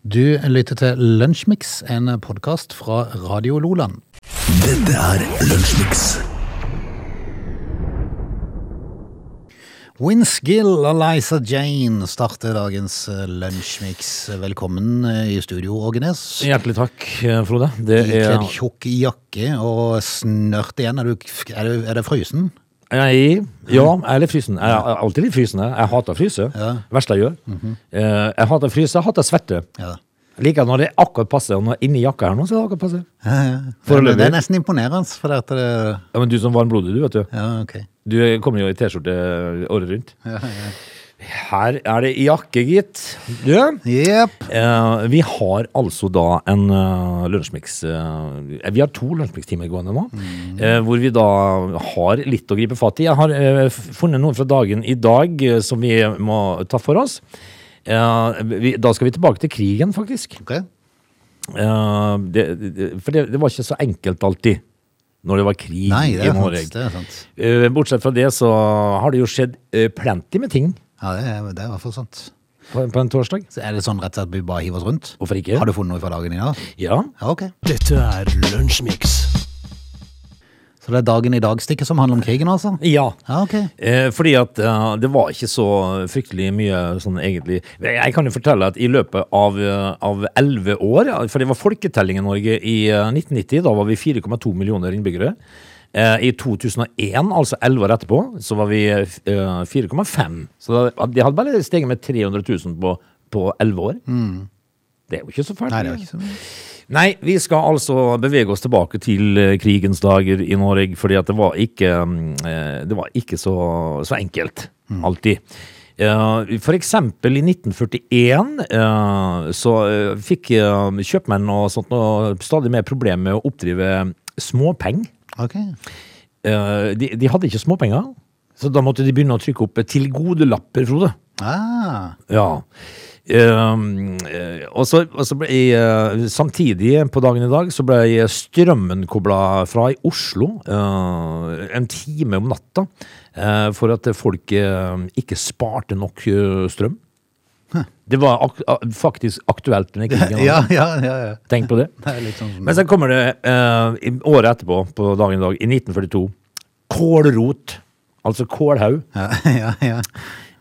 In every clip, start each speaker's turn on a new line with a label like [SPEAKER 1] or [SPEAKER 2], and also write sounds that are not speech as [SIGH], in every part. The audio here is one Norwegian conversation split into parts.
[SPEAKER 1] Du lytter til Lunsjmix, en podkast fra Radio Loland.
[SPEAKER 2] Dette er Lunsjmix.
[SPEAKER 1] Winskill og Liza Jane starter dagens eh, Lunsjmix. Velkommen eh, i studio, Ågenes.
[SPEAKER 3] Hjertelig takk, eh, Frode. Det er
[SPEAKER 1] Ikledd tjukk jakke og snørt igjen. Er, du, er, du, er det frysen?
[SPEAKER 3] Nei, ja, jeg er litt frysen. Jeg er alltid litt frysen. Jeg Jeg hater å fryse.
[SPEAKER 1] Ja. Mhm.
[SPEAKER 3] Verst jeg gjør. Eh, Jeg hater å fryse. Jeg hater svette.
[SPEAKER 1] Ja.
[SPEAKER 3] Jeg liker når det akkurat passer. Og når jeg er inni jakka her nå, så er det akkurat passe.
[SPEAKER 1] Det,
[SPEAKER 3] Foreløpig.
[SPEAKER 1] det er nesten imponerende. For at det,
[SPEAKER 3] Ja, men du som varmblodig, du, vet du.
[SPEAKER 1] ja, ok.
[SPEAKER 3] Du kommer jo i T-skjorte året rundt.
[SPEAKER 1] Ja, ja.
[SPEAKER 3] Her er det jakke, gitt. Du,
[SPEAKER 1] Jepp.
[SPEAKER 3] eh, vi har altså da en uh, lunsjmix eh, Vi har to lunsjmix-timer gående nå,
[SPEAKER 1] Mm.
[SPEAKER 3] eh, hvor vi da har litt å gripe fatt i. Jeg har eh, f- funnet noe fra dagen i dag eh, som vi må ta for oss. Eh, vi, da skal vi tilbake til krigen, faktisk.
[SPEAKER 1] Ok.
[SPEAKER 3] Eh, det, det, for det, det var ikke så enkelt alltid når det var krig
[SPEAKER 1] Nei, det
[SPEAKER 3] i
[SPEAKER 1] er
[SPEAKER 3] Norge.
[SPEAKER 1] sant. Det er, sant.
[SPEAKER 3] Eh, bortsett fra det så har det jo skjedd eh, plenty med ting
[SPEAKER 1] Ja, det, er, det er i hvert fall sant.
[SPEAKER 3] på, på en torsdag.
[SPEAKER 1] Så er det sånn rett og slett vi bare hiver oss rundt?
[SPEAKER 3] Hvorfor ikke?
[SPEAKER 1] Har du funnet noe fra dagen i dag?
[SPEAKER 3] Ja.
[SPEAKER 1] Ja, ok.
[SPEAKER 2] Dette er Lunsjmix.
[SPEAKER 1] Så det er dagen i dag-stikket som handler om krigen, altså?
[SPEAKER 3] ja.
[SPEAKER 1] Ja, ok.
[SPEAKER 3] Eh, fordi at eh, det var ikke så fryktelig mye sånn egentlig Jeg kan jo fortelle at i løpet av, eh, av 11 år, ja, for det var folketelling i Norge i eh, 1990, da var vi 4,2 millioner innbyggere. Eh, I 2001, altså 11 år etterpå, så var vi eh, 4,5. Så da- de hadde bare steget med 300 000 på, på 11 år. Det er jo ikke så fælt.
[SPEAKER 1] Mm. Nei, det er ikke så mye.
[SPEAKER 3] Nei, vi skal altså bevege oss tilbake til eh, krigens dager i Norge, fordi at det var ikke, mm, eh, det var ikke så, så enkelt, alltid. Eh, For eksempel i 1941 eh, så eh, fikk eh, kjøpmenn og sånt noe stadig mer problemer med å oppdrive småpeng.
[SPEAKER 1] Ok.
[SPEAKER 3] Eh, De, de hadde ikke småpenger, så da måtte de begynne å trykke opp eh, tilgodelapper, Frode.
[SPEAKER 1] Ah,
[SPEAKER 3] Ja. Ehm, eh, og så, og så ble, eh, samtidig på dagen i dag så ble strømmen kobla fra i Oslo eh, en time om natta eh, for at folk eh, ikke sparte nok eh, strøm. Det var ak a- faktisk aktuelt under
[SPEAKER 1] [LAUGHS]
[SPEAKER 3] krigen. altså.
[SPEAKER 1] ja, ja, ja, ja.
[SPEAKER 3] Tenk på det.
[SPEAKER 1] Det er litt sånn som
[SPEAKER 3] Men så kommer det eh, i- året etterpå, på dagen i dag, i 1942. Kålrot, altså kålhaug,
[SPEAKER 1] ja, [LAUGHS] ja, ja.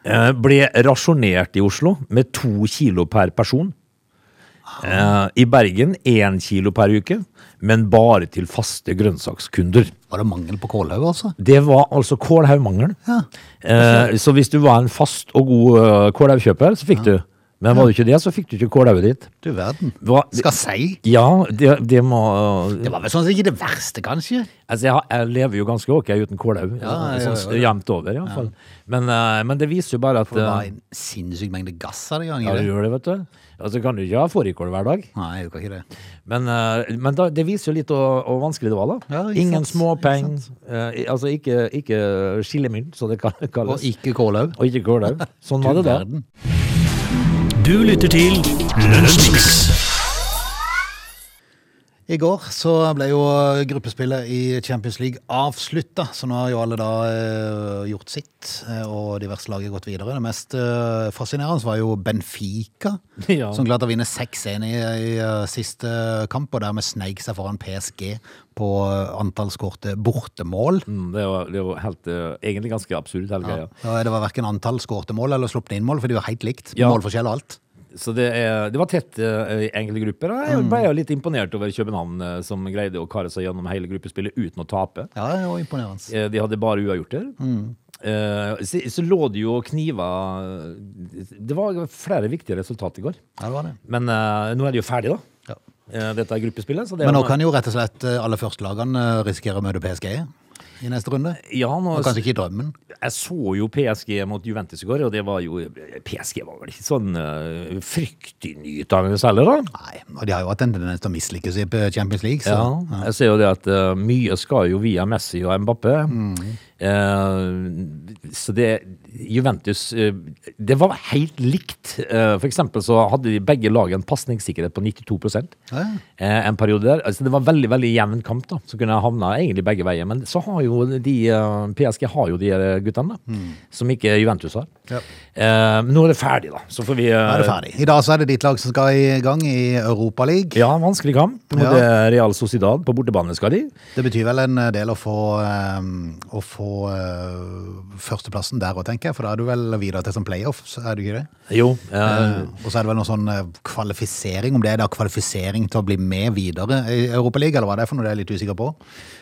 [SPEAKER 3] eh, ble rasjonert i Oslo med to kilo per person. Eh, I Bergen én kilo per uke, men bare til faste grønnsakskunder.
[SPEAKER 1] Var det mangel på kålhaug, altså?
[SPEAKER 3] Det var altså kålhaugmangelen.
[SPEAKER 1] Ja.
[SPEAKER 3] Eh, så hvis du var en fast og god eh, kålhaugkjøper, så fikk du. Men var du ikke det, så fikk du ikke kålhauget ditt.
[SPEAKER 1] Du verden.
[SPEAKER 3] Hva-
[SPEAKER 1] Skal si.
[SPEAKER 3] Ja, det, det må
[SPEAKER 1] Det var vel sånn at ikke det verste, kanskje?
[SPEAKER 3] Altså, jeg, har- jeg lever jo ganske ok uten kålhaug.
[SPEAKER 1] Ja, ja,
[SPEAKER 3] sånn
[SPEAKER 1] ja, ja.
[SPEAKER 3] jevnt over, iallfall. Men, eh, men det viser jo bare at
[SPEAKER 1] Det var
[SPEAKER 3] eh,
[SPEAKER 1] en sinnssyk mengde gass av det gang
[SPEAKER 3] ja,
[SPEAKER 1] i
[SPEAKER 3] du
[SPEAKER 1] det.
[SPEAKER 3] gjør det, vet du. Altså, kan du ikke ha fårikål hver dag.
[SPEAKER 1] Nei, du kan ikke det.
[SPEAKER 3] Men, eh, men da, det viser jo litt hvor hvor vanskelig det var, da.
[SPEAKER 1] Ja, ikke
[SPEAKER 3] Ingen
[SPEAKER 1] sant,
[SPEAKER 3] småpeng. eh, i- altså ikke, ikke skillemynt, som det kan
[SPEAKER 1] Og
[SPEAKER 3] kalles.
[SPEAKER 1] ikke kålhaug.
[SPEAKER 3] Og ikke kålhaug. Sånn var
[SPEAKER 1] Du
[SPEAKER 3] det da.
[SPEAKER 1] verden.
[SPEAKER 2] Du lytter til Lunsjmix.
[SPEAKER 1] I går så ble jo gruppespillet i Champions League avslutta, så nå har jo alle da eh, gjort sitt, eh, og diverse lag har gått videre. Det mest eh, fascinerende var jo Benfica,
[SPEAKER 3] Ja.
[SPEAKER 1] som klarte å vinne 6-1 i, i eh, siste kamp, og dermed sneik seg foran PSG på eh, antall skårte bortemål.
[SPEAKER 3] Mm, det var, det var helt, eh, egentlig ganske absurd, hele greia.
[SPEAKER 1] Og Det var verken antall skårte mål eller sluppne inn mål, for de var helt likt.
[SPEAKER 3] Ja.
[SPEAKER 1] Målforskjell og alt.
[SPEAKER 3] Så det, er, det var tett eh, i enkelte grupper. og Jeg ble jo litt imponert over København, eh, som greide å kare seg gjennom hele gruppespillet uten å tape.
[SPEAKER 1] Ja, det var imponerende.
[SPEAKER 3] Eh, De hadde bare uavgjorter. Eh, så, så lå det jo kniver Det var flere viktige resultat i går.
[SPEAKER 1] Ja, det var det.
[SPEAKER 3] Men eh, nå er det jo ferdig, da.
[SPEAKER 1] Ja.
[SPEAKER 3] Eh, Dette er gruppespillet. Så det
[SPEAKER 1] Men nå
[SPEAKER 3] er,
[SPEAKER 1] kan jo rett og slett eh, alle førstelagene eh, risikere å møte PSG i neste runde.
[SPEAKER 3] ja, nå,
[SPEAKER 1] Og kanskje ikke i drømmen.
[SPEAKER 3] Jeg så jo PSG mot Juventus i går, og det var jo PSG var vel ikke sånn uh, fryktinngytende særlig, da.
[SPEAKER 1] Nei, og de har jo hatt en tendens til å mislykkes i Champions League, så
[SPEAKER 3] Ja, jeg ser jo det at eh, mye skal jo via Messi og Mbappé.
[SPEAKER 1] Mm.
[SPEAKER 3] Eh, så det Juventus eh, Det var helt likt. Eh, for eksempel så hadde de begge lag en pasningssikkerhet på 92
[SPEAKER 1] Ja.
[SPEAKER 3] eh, en periode der. Altså, det var veldig veldig jevn kamp, da. Så kunne jeg havna egentlig begge veier. Men så har jo de eh, PSG har jo de eh, guttene, da. Som ikke Juventus har.
[SPEAKER 1] Mm. Ja.
[SPEAKER 3] Eh, men nå er det ferdig, da. Så får vi eh,
[SPEAKER 1] Da er det ferdig. I dag så er det ditt lag som skal i gang i Europaligaen.
[SPEAKER 3] Ja, vanskelig kamp mot
[SPEAKER 1] Ja.
[SPEAKER 3] eh, Real Sociedad på bortebane skal de.
[SPEAKER 1] Det betyr vel en del å få, eh, å få eh, førsteplassen der òg, tenker jeg. For da er du vel videre til sånn playoff, så er du ikke det?
[SPEAKER 3] Jo. eh,
[SPEAKER 1] Eh, Og så er det vel noe sånn eh, kvalifisering, om det er da kvalifisering til å bli med videre i Europaligaen, eller hva det er for noe, det er jeg litt usikker på.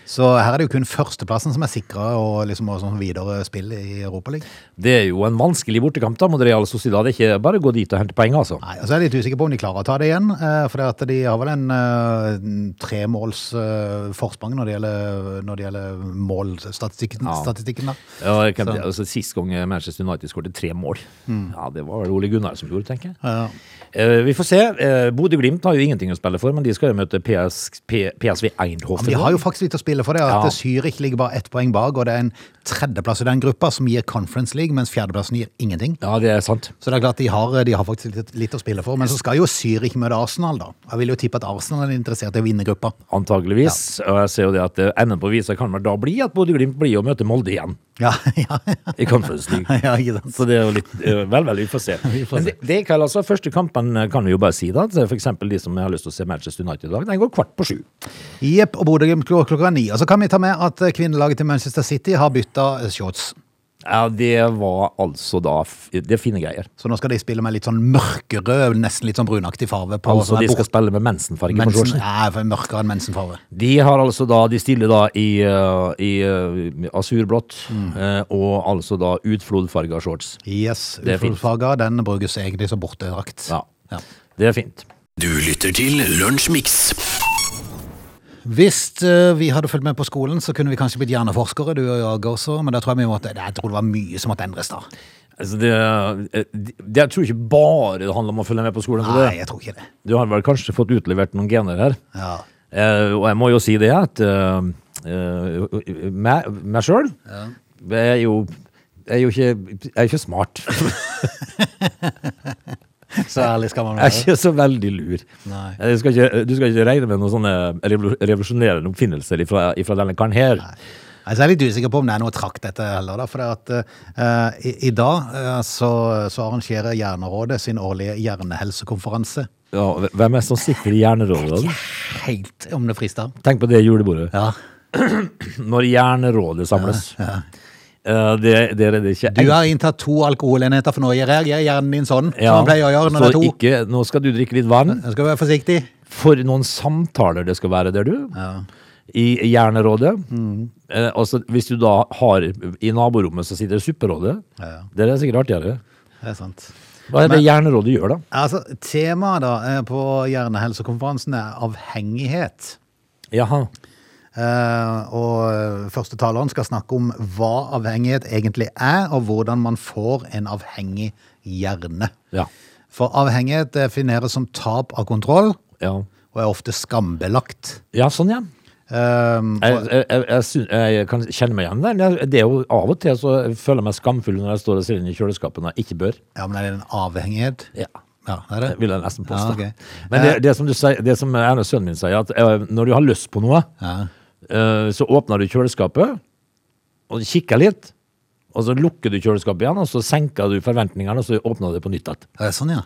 [SPEAKER 1] Så her er det jo kun førsteplassen som er sikra, og liksom også sånn videre spill i Europaligaen.
[SPEAKER 3] Det er jo en vanskelig bortekamp da mot Real Sociedad. Det er ikke bare å gå dit og hente poeng, altså.
[SPEAKER 1] Nei, altså jeg er litt usikker på om de klarer å ta det igjen. eh, For det at de har vel en eh, tremåls eh, forsprang når det gjelder, når det gjelder målstatistikken.
[SPEAKER 3] Ja.
[SPEAKER 1] statistikken da.
[SPEAKER 3] Ja, jeg kan, altså, sist gang eh, Manchester United skåret tre mål, ja, det var vel Ole Gunnar som gjorde, tenker jeg.
[SPEAKER 1] Mm. Ja.
[SPEAKER 3] Eh, vi får se. Eh, Bodø-Glimt har jo ingenting å spille for, men de skal jo møte PS, P, PSV Eindhoven.
[SPEAKER 1] Men de har jo faktisk litt å spille for det. At
[SPEAKER 3] Ja.
[SPEAKER 1] Zürich ligger bare ett poeng bak, og det er en tredjeplass i den gruppa som gir Conference League, mens fjerdeplassen gir ingenting.
[SPEAKER 3] Ja, det er sant.
[SPEAKER 1] Så det er klart de har, de har faktisk litt, litt å spille for. Men så skal jo Zürich møte Arsenal, da. Jeg vil jo tippe at Arsenal er interessert i å vinne gruppa.
[SPEAKER 3] Antageligvis. Og jeg ser jo det at eh, enden på visa kan vel da bli at Bodø-Glimt blir å møte Molde igjen
[SPEAKER 1] Ja, [LAUGHS] ja, ja.
[SPEAKER 3] i
[SPEAKER 1] [LAUGHS]
[SPEAKER 3] Conference League.
[SPEAKER 1] ikke sant.
[SPEAKER 3] Så det er jo litt eh, Vel, vel, vi får
[SPEAKER 1] [LAUGHS]
[SPEAKER 3] se. Men det, det er ikke altså Første kampen eh, kan vi jo bare si, da. Så For eksempel de som har lyst til å se Manchester United i dag. Den går kvart på sju.
[SPEAKER 1] Jepp, og Bodø-Glimt klok- klokka ni. Og så kan vi ta med at eh, kvinnelaget til Manchester City har bytta eh, shorts.
[SPEAKER 3] Ja, det var altså da f- Det er fine greier.
[SPEAKER 1] Så nå skal de spille med litt sånn mørkerød, nesten litt sånn brunaktig farve. på
[SPEAKER 3] Altså,
[SPEAKER 1] som er
[SPEAKER 3] de skal
[SPEAKER 1] bort-
[SPEAKER 3] spille med mensenfarge på
[SPEAKER 1] mensen,
[SPEAKER 3] shortsen.
[SPEAKER 1] nei, for mørkere enn mensenfarve.
[SPEAKER 3] De har altså da, de stiller da i, eh, i eh, asurblått
[SPEAKER 1] Mm.
[SPEAKER 3] eh, og altså da utflodfarga shorts.
[SPEAKER 1] Yes,
[SPEAKER 3] Det er fint.
[SPEAKER 1] ufullfarga. Den brukes egentlig som bortedrakt.
[SPEAKER 3] Ja.
[SPEAKER 1] Ja.
[SPEAKER 3] Det er fint.
[SPEAKER 2] Du lytter til Lunsjmix.
[SPEAKER 1] Hvis eh, vi hadde fulgt med på skolen, så kunne vi kanskje blitt hjerneforskere, du og jeg også, men da tror jeg vi måtte, jeg tror det var mye som måtte endres da.
[SPEAKER 3] Altså, det, eh, det, jeg tror ikke bare det handler om å følge med på skolen. For
[SPEAKER 1] Nei,
[SPEAKER 3] det.
[SPEAKER 1] jeg tror ikke det.
[SPEAKER 3] Du har vel kanskje fått utlevert noen gener her.
[SPEAKER 1] Ja.
[SPEAKER 3] Eh, og jeg må jo si det at eh, eh, meg, meg sjøl Jeg er jo jeg er jo ikke, jeg er ikke smart.
[SPEAKER 1] Så ærlig skal man
[SPEAKER 3] Jeg er
[SPEAKER 1] være.
[SPEAKER 3] ikke så veldig lur.
[SPEAKER 1] Nei.
[SPEAKER 3] Jeg skal ikke, du skal ikke regne med noen sånne revolu- revolusjonerende oppfinnelser ifra, ifra denne karen her.
[SPEAKER 1] Altså, jeg er litt usikker på om det er noe trakt dette heller, da, for det at, eh, i, i dag eh, så, så arrangerer Hjernerådet sin årlige hjernehelsekonferanse.
[SPEAKER 3] Ja, hvem er det som sitter i Hjernerådet?
[SPEAKER 1] Helt om det frister.
[SPEAKER 3] Tenk på det julebordet.
[SPEAKER 1] Ja.
[SPEAKER 3] Når Hjernerådet samles. Eh, Det, det er det ikke
[SPEAKER 1] Du har inntatt to alkoholenheter, for nå reagerer hjernen din sånn,
[SPEAKER 3] Ja,
[SPEAKER 1] som man pleier å gjøre når
[SPEAKER 3] så
[SPEAKER 1] det er to.
[SPEAKER 3] Ikke, nå skal du drikke litt vann.
[SPEAKER 1] Jeg skal være forsiktig.
[SPEAKER 3] For noen samtaler det skal være der, du. I Hjernerådet.
[SPEAKER 1] Mm.
[SPEAKER 3] Eh, og så hvis du da har I naborommet så sitter Supperådet.
[SPEAKER 1] Ja.
[SPEAKER 3] Det er sikkert artigere.
[SPEAKER 1] Det er sant.
[SPEAKER 3] Hva er det Hjernerådet gjør, da?
[SPEAKER 1] Altså, temaet da eh, på hjernehelsekonferansen er avhengighet.
[SPEAKER 3] Jaha.
[SPEAKER 1] Eh, og første taleren skal snakke om hva avhengighet egentlig er, og hvordan man får en avhengig hjerne.
[SPEAKER 3] Ja.
[SPEAKER 1] For avhengighet defineres som tap av kontroll,
[SPEAKER 3] Ja,
[SPEAKER 1] og er ofte skambelagt.
[SPEAKER 3] ja sånn, ja.
[SPEAKER 1] Um,
[SPEAKER 3] Jeg, jeg, jeg, jeg, syn- jeg kan kjenne meg igjen der. Jeg- Det er jo Av og til så føler jeg meg skamfull når jeg står og ser inn i kjøleskapet når jeg ikke bør.
[SPEAKER 1] ja, men er det en avhengighet?
[SPEAKER 3] Ja. Eh.
[SPEAKER 1] Ja, det er det.
[SPEAKER 3] Vil jeg nesten påstå.
[SPEAKER 1] Ja, ok.
[SPEAKER 3] Men det, det som du sier, det som Erne sønnen min sier, at eh, når du har lyst på noe,
[SPEAKER 1] Ja.
[SPEAKER 3] eh, så åpner du kjøleskapet og kikker litt. Og så lukker du kjøleskapet igjen, og så senker du forventningene, og så åpner du det på nytt igjen.
[SPEAKER 1] Er det sånn, ja?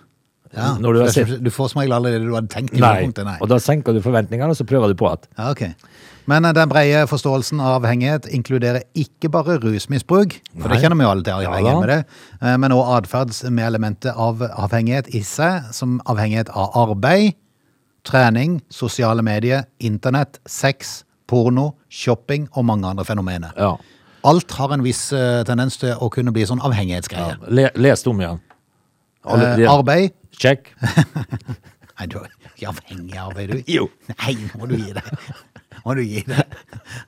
[SPEAKER 1] ja.
[SPEAKER 3] Når du har sett-
[SPEAKER 1] du får som regel aldri det du hadde tenkt. i utgangspunktet,
[SPEAKER 3] Og da senker du forventningene, og så prøver du på igjen.
[SPEAKER 1] Ja, ok. Men eh, den brede forståelsen av avhengighet inkluderer ikke bare rusmisbruk, for det
[SPEAKER 3] Nei.
[SPEAKER 1] kjenner vi jo alle til,
[SPEAKER 3] Ja
[SPEAKER 1] avhengighet
[SPEAKER 3] da.
[SPEAKER 1] med det, eh, men også atferd med elementet av avhengighet i seg, som avhengighet av arbeid, trening, sosiale medier, internett, sex, porno, shopping og mange andre fenomener.
[SPEAKER 3] Ja.
[SPEAKER 1] Alt har en viss eh, tendens til å kunne bli sånn avhengighetsgreie.
[SPEAKER 3] Le, les det om igjen. Alle-
[SPEAKER 1] Eh, arbeid?
[SPEAKER 3] Check.
[SPEAKER 1] Nei, du er ikke avhengig av arbeid, du.
[SPEAKER 3] [LAUGHS] Jo.
[SPEAKER 1] Nei, nå må du gi deg. Må du gi deg.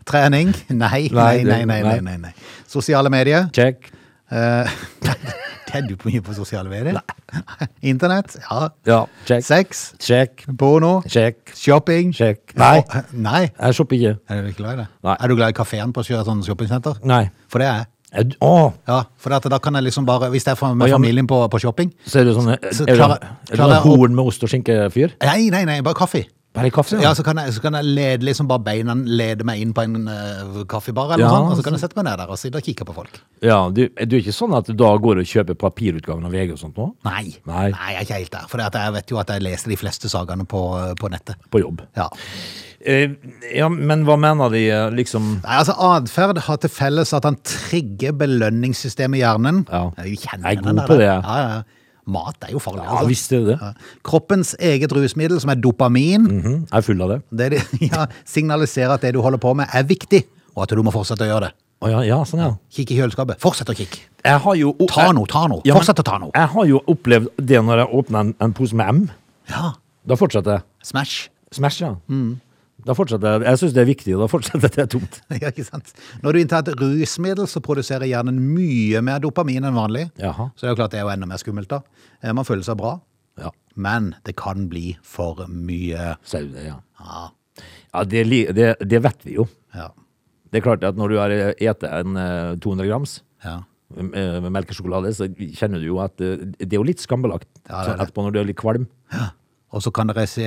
[SPEAKER 1] Trening? Nei, nei,
[SPEAKER 3] Nei, det-
[SPEAKER 1] nei, nei, nei,
[SPEAKER 3] nei.
[SPEAKER 1] nei, nei. Sosiale medier?
[SPEAKER 3] Check.
[SPEAKER 1] Eh, det er du på mye på sosiale medier? Internett? Ja.
[SPEAKER 3] Ja. Check.
[SPEAKER 1] Sex?
[SPEAKER 3] Check.
[SPEAKER 1] Porno?
[SPEAKER 3] Check.
[SPEAKER 1] Shopping?
[SPEAKER 3] Check. Nei.
[SPEAKER 1] Å, Nei.
[SPEAKER 3] Jeg shopper ikke.
[SPEAKER 1] Er du ikke glad i det?
[SPEAKER 3] Nei.
[SPEAKER 1] Er du glad i kafeen på et sånn shoppingsenter?
[SPEAKER 3] Nei.
[SPEAKER 1] For det er jeg.
[SPEAKER 3] Er du- Å,
[SPEAKER 1] Ja, for at da kan jeg liksom bare, hvis det er for- med
[SPEAKER 3] Å, ja, men-
[SPEAKER 1] familien på, på shopping
[SPEAKER 3] så er du sånn Er
[SPEAKER 1] Så
[SPEAKER 3] du er
[SPEAKER 1] klarer- klarer
[SPEAKER 3] du sånn
[SPEAKER 1] jeg å-
[SPEAKER 3] horn med ost og skinke-fyr?
[SPEAKER 1] Nei, nei, nei, bare kaffe.
[SPEAKER 3] Bare kaffe?
[SPEAKER 1] Ja, så kan jeg, så kan jeg lede, liksom bare beina lede meg inn på en eh, kaffebar, eller
[SPEAKER 3] Ja, altså.
[SPEAKER 1] noe sånt, og så kan jeg sette meg ned der og sitte og kikke på folk.
[SPEAKER 3] Ja, du, du er ikke sånn at du da går og kjøper papirutgaven av VG og sånt nå?
[SPEAKER 1] Nei,
[SPEAKER 3] Nei.
[SPEAKER 1] jeg er ikke helt der, for det at jeg vet jo at jeg leser de fleste sagaene på, eh, på nettet.
[SPEAKER 3] På jobb.
[SPEAKER 1] Ja.
[SPEAKER 3] Eh, ja, men hva mener de eh, liksom
[SPEAKER 1] Nei, altså Atferd har til felles at han trigger belønningssystemet i hjernen.
[SPEAKER 3] Ja.
[SPEAKER 1] Jeg er jo kjennende
[SPEAKER 3] Jeg er god
[SPEAKER 1] der,
[SPEAKER 3] på
[SPEAKER 1] da.
[SPEAKER 3] det.
[SPEAKER 1] Ja, ja, ja. Mat er jo farlig. altså.
[SPEAKER 3] Ja, visst er det det.
[SPEAKER 1] Ja. Kroppens eget rusmiddel, som er dopamin,
[SPEAKER 3] Mhm, Jeg er full av det.
[SPEAKER 1] det de, [LAUGHS] ja, signaliserer at det du holder på med, er viktig, og at du må fortsette å gjøre det.
[SPEAKER 3] Å ja, ja, sånn ja.
[SPEAKER 1] Kikk i kjøleskapet. Fortsett å kikke.
[SPEAKER 3] Jeg har jo o-
[SPEAKER 1] Ta
[SPEAKER 3] jeg-
[SPEAKER 1] nå, ta nå.
[SPEAKER 3] Ja, men-
[SPEAKER 1] Fortsett å ta nå.
[SPEAKER 3] Jeg har jo opplevd det når jeg åpner en, en pose med M.
[SPEAKER 1] Ja.
[SPEAKER 3] Da fortsetter jeg.
[SPEAKER 1] Smash.
[SPEAKER 3] Smash, ja.
[SPEAKER 1] Mm.
[SPEAKER 3] Da fortsetter jeg. Jeg syns det er viktig, og da fortsetter jeg til det er tomt.
[SPEAKER 1] [LAUGHS] Ja, ikke sant? Når du inntar et rusmiddel, så produserer hjernen mye mer dopamin enn vanlig.
[SPEAKER 3] Jaha.
[SPEAKER 1] Så det er jo klart det er jo enda mer skummelt, da. Eh, Man føler seg bra,
[SPEAKER 3] Ja,
[SPEAKER 1] men det kan bli for mye.
[SPEAKER 3] så er det det, ja.
[SPEAKER 1] Ja.
[SPEAKER 3] ja det, li- det, det vet vi jo.
[SPEAKER 1] Ja.
[SPEAKER 3] Det er klart at når du har eh, etet en eh, 200 grams
[SPEAKER 1] ja.
[SPEAKER 3] eh, med melkesjokolade, så kjenner du jo at eh, det er jo litt skambelagt
[SPEAKER 1] Ja, det er
[SPEAKER 3] sånn etterpå når du er litt kvalm.
[SPEAKER 1] Og så kan det ris-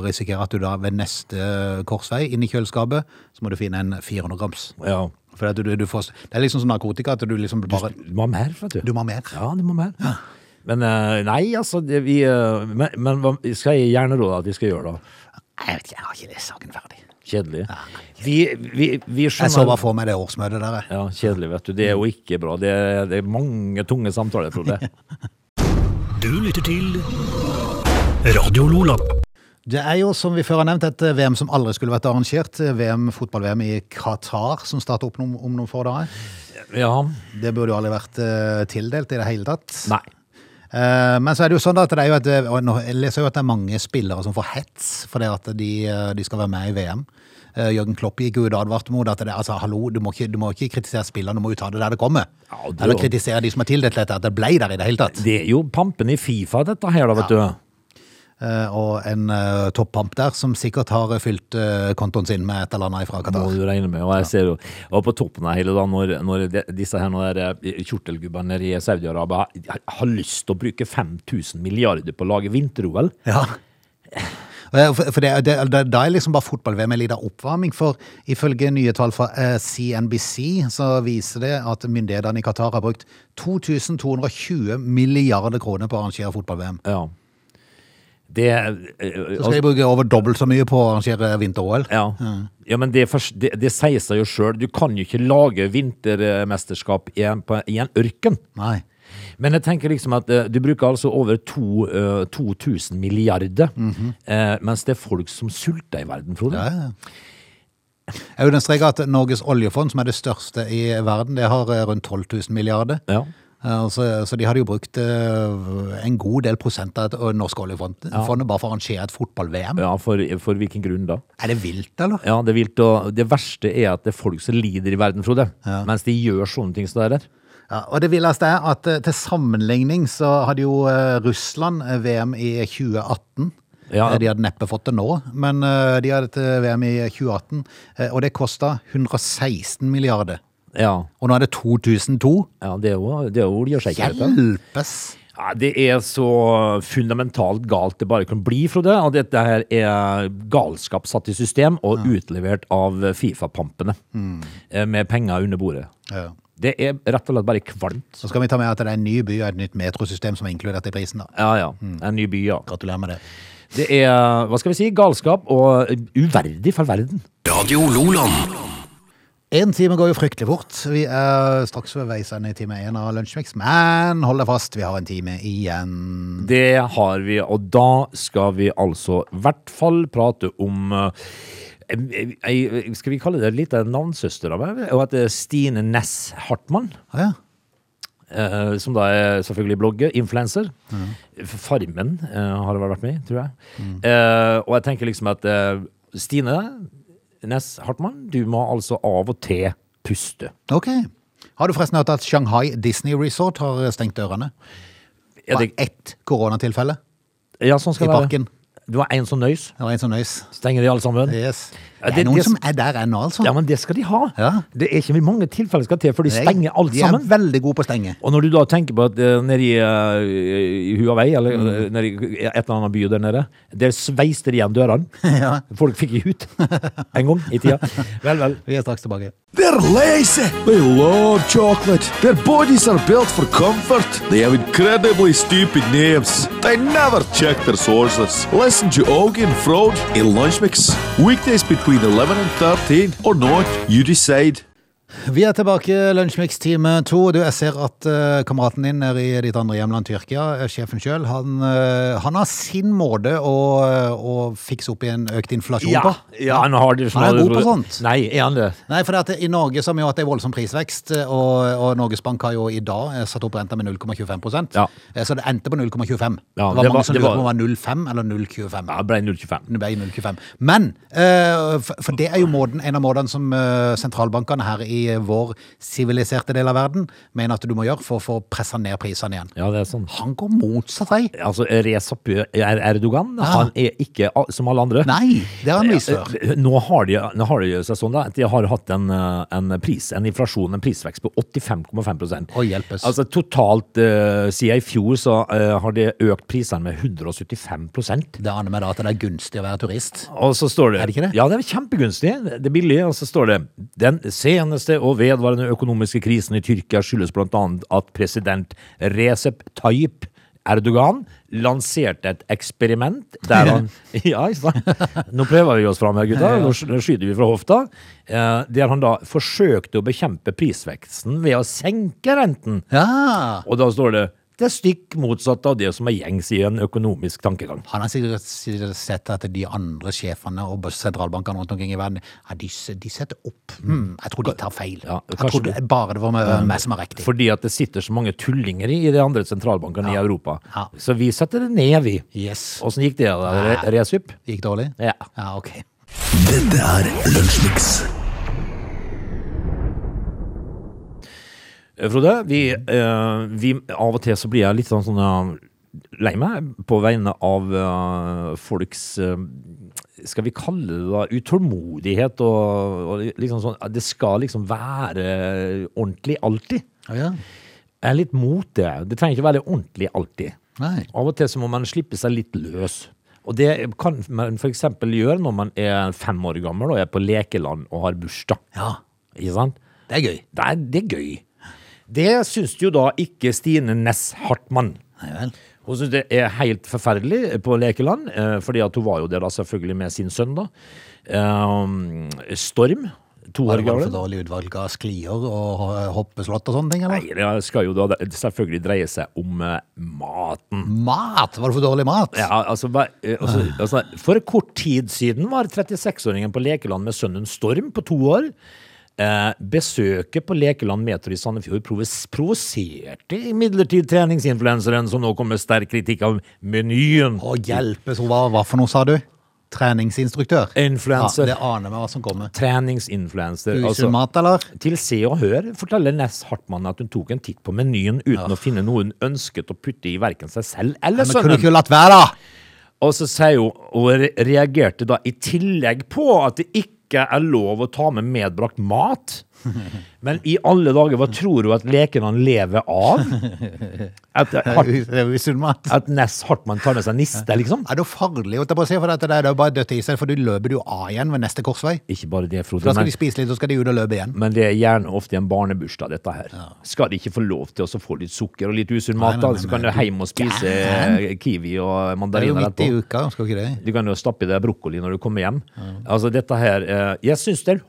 [SPEAKER 1] risikere at du da ved neste eh, korsvei inn i kjøleskapet, så må du finne en 400 grams.
[SPEAKER 3] Ja.
[SPEAKER 1] For at du, du får, det er liksom som narkotika, at du liksom
[SPEAKER 3] Du,
[SPEAKER 1] bare
[SPEAKER 3] du må ha mer, vet du.
[SPEAKER 1] Du må ha mer.
[SPEAKER 3] Ja, du må ha mer. Men eh, nei, altså det, vi, eh, men, men hva skal jeg gjerne råde at vi skal gjøre, da?
[SPEAKER 1] Jeg vet ikke, jeg har ikke lest saken ferdig.
[SPEAKER 3] Kjedelig. Vi, vi, vi skjønner
[SPEAKER 1] Jeg så bare for meg det årsmøtet der, jeg.
[SPEAKER 3] Ja, kjedelig, vet du. Det er jo ikke bra. Det er, det er mange tunge samtaler, Frode.
[SPEAKER 1] [LAUGHS]
[SPEAKER 2] Du lytter til Radio Lola.
[SPEAKER 1] Det er jo, som vi før har nevnt, et VM som aldri skulle vært arrangert. Eh, VM, Fotball-VM i Qatar, som starter opp om, om noen få dager.
[SPEAKER 3] Ja.
[SPEAKER 1] Det burde jo aldri vært eh, tildelt i det hele tatt.
[SPEAKER 3] Nei.
[SPEAKER 1] Eh, men så er det jo sånn da at det er jo et, og nå, jeg leser jo at det er mange spillere som får hets fordi at de, eh, de skal være med i VM. Uh, Jørgen Klopp gikk jo ut og advarte mot at det, altså, hallo, du må, ikke, du må ikke kritisere spillerne, du må jo ta det der det kommer.
[SPEAKER 3] Ja, det er
[SPEAKER 1] Eller
[SPEAKER 3] jo-
[SPEAKER 1] kritisere de som har tildelt dette, at det ble der i det hele tatt.
[SPEAKER 3] Det er jo pampen i Fifa, dette her, da, vet du.
[SPEAKER 1] Eh, og en uh, toppamp der som sikkert har eh, fylt eh, kontoen sin med et eller annet fra
[SPEAKER 3] må
[SPEAKER 1] Qatar.
[SPEAKER 3] du regne med. Og jeg ser jo og på toppen av hele da, når, når de, disse her nå der, eh, kjortelgubbene nede i Saudi-Arabia har- har lyst til å bruke 5000 milliarder på å lage vinter-OL.
[SPEAKER 1] Ja. Eh, For for det, det, det, da er liksom bare fotball-VM en liten oppvarming, for ifølge nye tall fra eh, CNBC så viser det at myndighetene i Qatar har brukt 2220 milliarder kroner på å arrangere fotball-VM.
[SPEAKER 3] Ja. Det eh,
[SPEAKER 1] Så skal
[SPEAKER 3] altså-
[SPEAKER 1] de bruke over dobbelt så mye på å arrangere vinter-OL.
[SPEAKER 3] ja. ja, men det, fors- det, det sier seg jo sjøl. Du kan jo ikke lage vintermesterskap i en, på, i en ørken.
[SPEAKER 1] Nei.
[SPEAKER 3] Men jeg tenker liksom at eh, du bruker altså over to, eh, 2000 milliarder, eh, mens det er folk som sulter i verden, Frode.
[SPEAKER 1] Mhm. Ja, ja. Jeg understreker at Norges oljefond, som er det største i verden, det har eh, rundt 12 000 milliarder.
[SPEAKER 3] Ja.
[SPEAKER 1] Eh, Så, så de hadde jo brukt eh, en god del prosent av et- av norsk oljefond fondet bare for å arrangere et fotball-VM.
[SPEAKER 3] ja for, for hvilken grunn da?
[SPEAKER 1] Er det vilt, eller?
[SPEAKER 3] Ja, det er vilt, og det verste er at det er folk som lider i verden, Frode. Mens de gjør sånne ting som det der.
[SPEAKER 1] Ja, og det villeste er at eh, til sammenligning så hadde jo eh, Russland eh, VM i 2018.
[SPEAKER 3] Ja.
[SPEAKER 1] Eh, De hadde neppe fått det nå, men eh, de hadde et VM i 2018, eh, og det kosta 116 milliarder.
[SPEAKER 3] Ja,
[SPEAKER 1] Og nå er det 2002.
[SPEAKER 3] ja det er jo, det er jo oljesikkerheten.
[SPEAKER 1] Hjelpes!
[SPEAKER 3] Ja, det er så fundamentalt galt det bare kan bli, Frode. Og dette her er galskap satt i system og utlevert av Fifa-pampene. eh, Med penger under bordet.
[SPEAKER 1] Ja.
[SPEAKER 3] Det er rett og slett bare kvalmt.
[SPEAKER 1] Så skal vi ta med at det er en ny by og et nytt metrosystem som er inkludert i prisen. da.
[SPEAKER 3] Ja, ja. En ny by, ja.
[SPEAKER 1] Gratulerer med det.
[SPEAKER 3] Det er, hva skal vi si, galskap og uverdig for verden.
[SPEAKER 2] Radio Loland.
[SPEAKER 1] Én time går jo fryktelig fort. Vi er straks ved veis ende i time én av Lunsjmix, men hold deg fast, vi har en time igjen.
[SPEAKER 3] Det har vi, og da skal vi altså i hvert fall prate om eh, ei- ei- Skal vi kalle det litt av en navnsøster av meg? Og at det er Stine Næss Hartmann,
[SPEAKER 1] Å ja.
[SPEAKER 3] eh, som da er selvfølgelig blogger, influenser.
[SPEAKER 1] Mm.
[SPEAKER 3] Farmen eh, har vel vært med i, tror jeg. Eh, og jeg tenker liksom at eh, Stine Næss Hartmann, du må altså av og til puste.
[SPEAKER 1] Ok. Har du forresten hørt at Shanghai Disney Resort har stengt dørene?
[SPEAKER 3] Er
[SPEAKER 1] Bare
[SPEAKER 3] det,
[SPEAKER 1] ett koronatilfelle
[SPEAKER 3] ja, sånn
[SPEAKER 1] i
[SPEAKER 3] skal det være.
[SPEAKER 1] parken.
[SPEAKER 3] Du har en sånn nøys,
[SPEAKER 1] Det var en som nøys.
[SPEAKER 3] stenger de alle sammen.
[SPEAKER 1] Yes. Det er
[SPEAKER 3] det-
[SPEAKER 1] noen
[SPEAKER 3] det-
[SPEAKER 1] som er der ennå, altså.
[SPEAKER 3] Ja, men det skal de ha.
[SPEAKER 1] Ja.
[SPEAKER 3] Det er ikke mange tilfeller skal til, for de stenger alt
[SPEAKER 1] de
[SPEAKER 3] sammen.
[SPEAKER 1] er veldig gode på å stenge.
[SPEAKER 3] Og når du da tenker på at eh, nede i, eh, i Huawei, eller
[SPEAKER 1] Mm.
[SPEAKER 3] eh, nede i et eller annet by der nede, der sveiste de igjen dørene.
[SPEAKER 1] [LAUGHS] Ja.
[SPEAKER 3] Folk fikk ikke ut en gang i
[SPEAKER 1] [LAUGHS]
[SPEAKER 3] tida. Vel, vel.
[SPEAKER 1] Vi er straks tilbake.
[SPEAKER 4] They're lazy. They love chocolate. Their bodies are built for comfort. They have incredibly stupid names. They never check their sources. Listen to Augie and Frode in Lunch Mix. Weekdays between 11 and 13 or not, you decide.
[SPEAKER 1] Vi er tilbake, Lunsjmix-time to. Du, jeg ser at eh, kameraten din nede i ditt andre hjemland, Tyrkia, eh, sjefen sjøl, han, eh, han har sin måte å, eh, å fikse opp i en økt inflasjon
[SPEAKER 3] Ja,
[SPEAKER 1] på.
[SPEAKER 3] ja, han har det sånn
[SPEAKER 1] Han er god på sånt.
[SPEAKER 3] Nei, er han det?
[SPEAKER 1] Nei, for det at i Norge så har vi jo hatt en voldsom prisvekst, eh, og, og Norges Bank har jo i dag eh, satt opp renta med 0,25
[SPEAKER 3] Ja.
[SPEAKER 1] Eh, Så det endte på 0,25. det
[SPEAKER 3] Ja,
[SPEAKER 1] var
[SPEAKER 3] det var-
[SPEAKER 1] mange som
[SPEAKER 3] det
[SPEAKER 1] lurte
[SPEAKER 3] var-
[SPEAKER 1] på om det var 0,5 eller 0,25.
[SPEAKER 3] Ja, det ble 0,25.
[SPEAKER 1] Det ble 0,25. Men, eh, for, for det er jo måten, en av måtene som eh, sentralbankene her i eh, vår siviliserte del av verden mener at du må gjøre for å få pressa ned prisene igjen.
[SPEAKER 3] Ja, det er sånn.
[SPEAKER 1] Han går motsatt vei.
[SPEAKER 3] Altså, Recep Er- Erdogan, han er ikke a- som alle andre.
[SPEAKER 1] Nei, det har han vist før.
[SPEAKER 3] Eh, Nå har de, nå har de seg sånn da, at de har hatt en, eh, en pris, en inflasjon, en prisvekst på 85,5
[SPEAKER 1] Å, hjelpes.
[SPEAKER 3] Altså totalt, eh, siden i fjor så eh, har de økt prisene med 175
[SPEAKER 1] Det aner meg da at det er gunstig å være turist.
[SPEAKER 3] og så står det,
[SPEAKER 1] Er det ikke det?
[SPEAKER 3] Ja, det er kjempegunstig. Det er billig. Og så står det den seneste og vedvarende økonomiske krisen i Tyrkia skyldes bl.a. at president Recep Tayyip Erdogan lanserte et eksperiment der
[SPEAKER 1] [LAUGHS]
[SPEAKER 3] han Ja, ikke sant? Nå prøver vi oss fram her, gutta. Nå sk- nå skyter vi fra hofta. Eh, Der han da forsøkte å bekjempe prisveksten ved å senke renten.
[SPEAKER 1] Ja!
[SPEAKER 3] Og da står det det er stikk motsatt av det som er gjengs i en økonomisk tankegang.
[SPEAKER 1] Han har sikkert sikkert sett at de andre sjefene og sentralbankene rundt omkring i verden ja, de, s- de setter opp. Hmm, jeg tror de tar feil.
[SPEAKER 3] Mm. Ja,
[SPEAKER 1] jeg
[SPEAKER 3] kanskje Mm.
[SPEAKER 1] tror det, bare det var meg, meg som var riktig.
[SPEAKER 3] Fordi at det sitter så mange tullinger i de andre sentralbankene i Europa.
[SPEAKER 1] Ja.
[SPEAKER 3] Så vi setter det ned, vi.
[SPEAKER 1] Yes.
[SPEAKER 3] Åssen gikk det da? Re- Resup?
[SPEAKER 1] Gikk dårlig?
[SPEAKER 3] Ja.
[SPEAKER 1] Ja, ok.
[SPEAKER 2] Dette er Lunsjmix.
[SPEAKER 3] Eh, Frode, vi, eh, vi Av og til så blir jeg litt sånn sånn eh, lei meg på vegne av eh, folks eh, skal vi kalle det da utålmodighet og, og liksom sånn at Det skal liksom være ordentlig alltid.
[SPEAKER 1] Å ja.
[SPEAKER 3] Jeg er litt mot det. Det trenger ikke være ordentlig alltid.
[SPEAKER 1] Nei.
[SPEAKER 3] Av og til så må man slippe seg litt løs. Og det kan man f.eks. gjøre når man er fem år gammel og er på lekeland og har bursdag.
[SPEAKER 1] ja.
[SPEAKER 3] Ikke sant?
[SPEAKER 1] Det er gøy.
[SPEAKER 3] Det er, det er gøy. Det syns jo da ikke Stine Næss Hartmann.
[SPEAKER 1] Nei vel.
[SPEAKER 3] Hun syns det er helt forferdelig på lekeland, eh, fordi at hun var jo der da selvfølgelig med sin sønn, da. Eh, Storm, to
[SPEAKER 1] Var
[SPEAKER 3] år
[SPEAKER 1] det bare
[SPEAKER 3] gammel.
[SPEAKER 1] for dårlig utvalg av sklier og hoppeslott og sånne ting, eller?
[SPEAKER 3] Nei, det skal jo da selvfølgelig dreie seg om eh, maten.
[SPEAKER 1] Mat! Var det for dårlig mat?
[SPEAKER 3] Ja, altså, hva- eh, altså,
[SPEAKER 1] Ah.
[SPEAKER 3] altså, for kort tid siden var 36-åringen på Lekeland med sønnen Storm på to år. Eh, besøket på Lekeland Metro i Sandefjord provos provoserte imidlertid treningsinfluenseren, som nå kom med sterk kritikk av menyen.
[SPEAKER 1] Å hjelpes, hun var hva for noe, sa du? Treningsinstruktør?
[SPEAKER 3] Influencer.
[SPEAKER 1] Ja, det aner meg hva som kommer.
[SPEAKER 3] Treningsinfluenser.
[SPEAKER 1] Usunn
[SPEAKER 3] altså.
[SPEAKER 1] mat, eller?
[SPEAKER 3] Til Se og Hør forteller Ness Hartmann at hun tok en titt på menyen uten å finne noe hun ønsket å putte i verken seg selv eller
[SPEAKER 1] Men kunne
[SPEAKER 3] sønnen.
[SPEAKER 1] du ikke latt være, da?
[SPEAKER 3] Og så sier hun, og re- reagerte da i tillegg på at det ikke er lov å ta med medbrakt mat.
[SPEAKER 1] [LAUGHS]
[SPEAKER 3] Men i alle dager, hva tror du at leken han lever av?
[SPEAKER 1] [LAUGHS]
[SPEAKER 3] At, Hart,
[SPEAKER 1] Det er jo usunn mat.
[SPEAKER 3] at Ness Hartmann tar med seg niste, liksom?
[SPEAKER 1] Er det jo farlig, holdt jeg på å si, for dette der, det er jo bare dødt i seg, for du løper du av igjen ved neste korsvei.
[SPEAKER 3] Ikke bare det,
[SPEAKER 1] For
[SPEAKER 3] Frode,
[SPEAKER 1] Da skal
[SPEAKER 3] men,
[SPEAKER 1] de spise litt, så skal de ut og løpe igjen.
[SPEAKER 3] men det er gjerne ofte en barnebursdag, dette her. Skal de ikke få lov til å så få litt sukker og litt usunn mat,
[SPEAKER 1] Nei, nei,
[SPEAKER 3] da?
[SPEAKER 1] nei,
[SPEAKER 3] Så kan du
[SPEAKER 1] nei,
[SPEAKER 3] hjem og spise eh, kiwi
[SPEAKER 1] Det
[SPEAKER 3] og
[SPEAKER 1] er jo
[SPEAKER 3] mandariner
[SPEAKER 1] midt i
[SPEAKER 3] etterpå.
[SPEAKER 1] uka, skal ikke det?
[SPEAKER 3] Du kan jo stappe i deg brokkoli når du kommer hjem. Altså dette her, eh, Jeg syns det er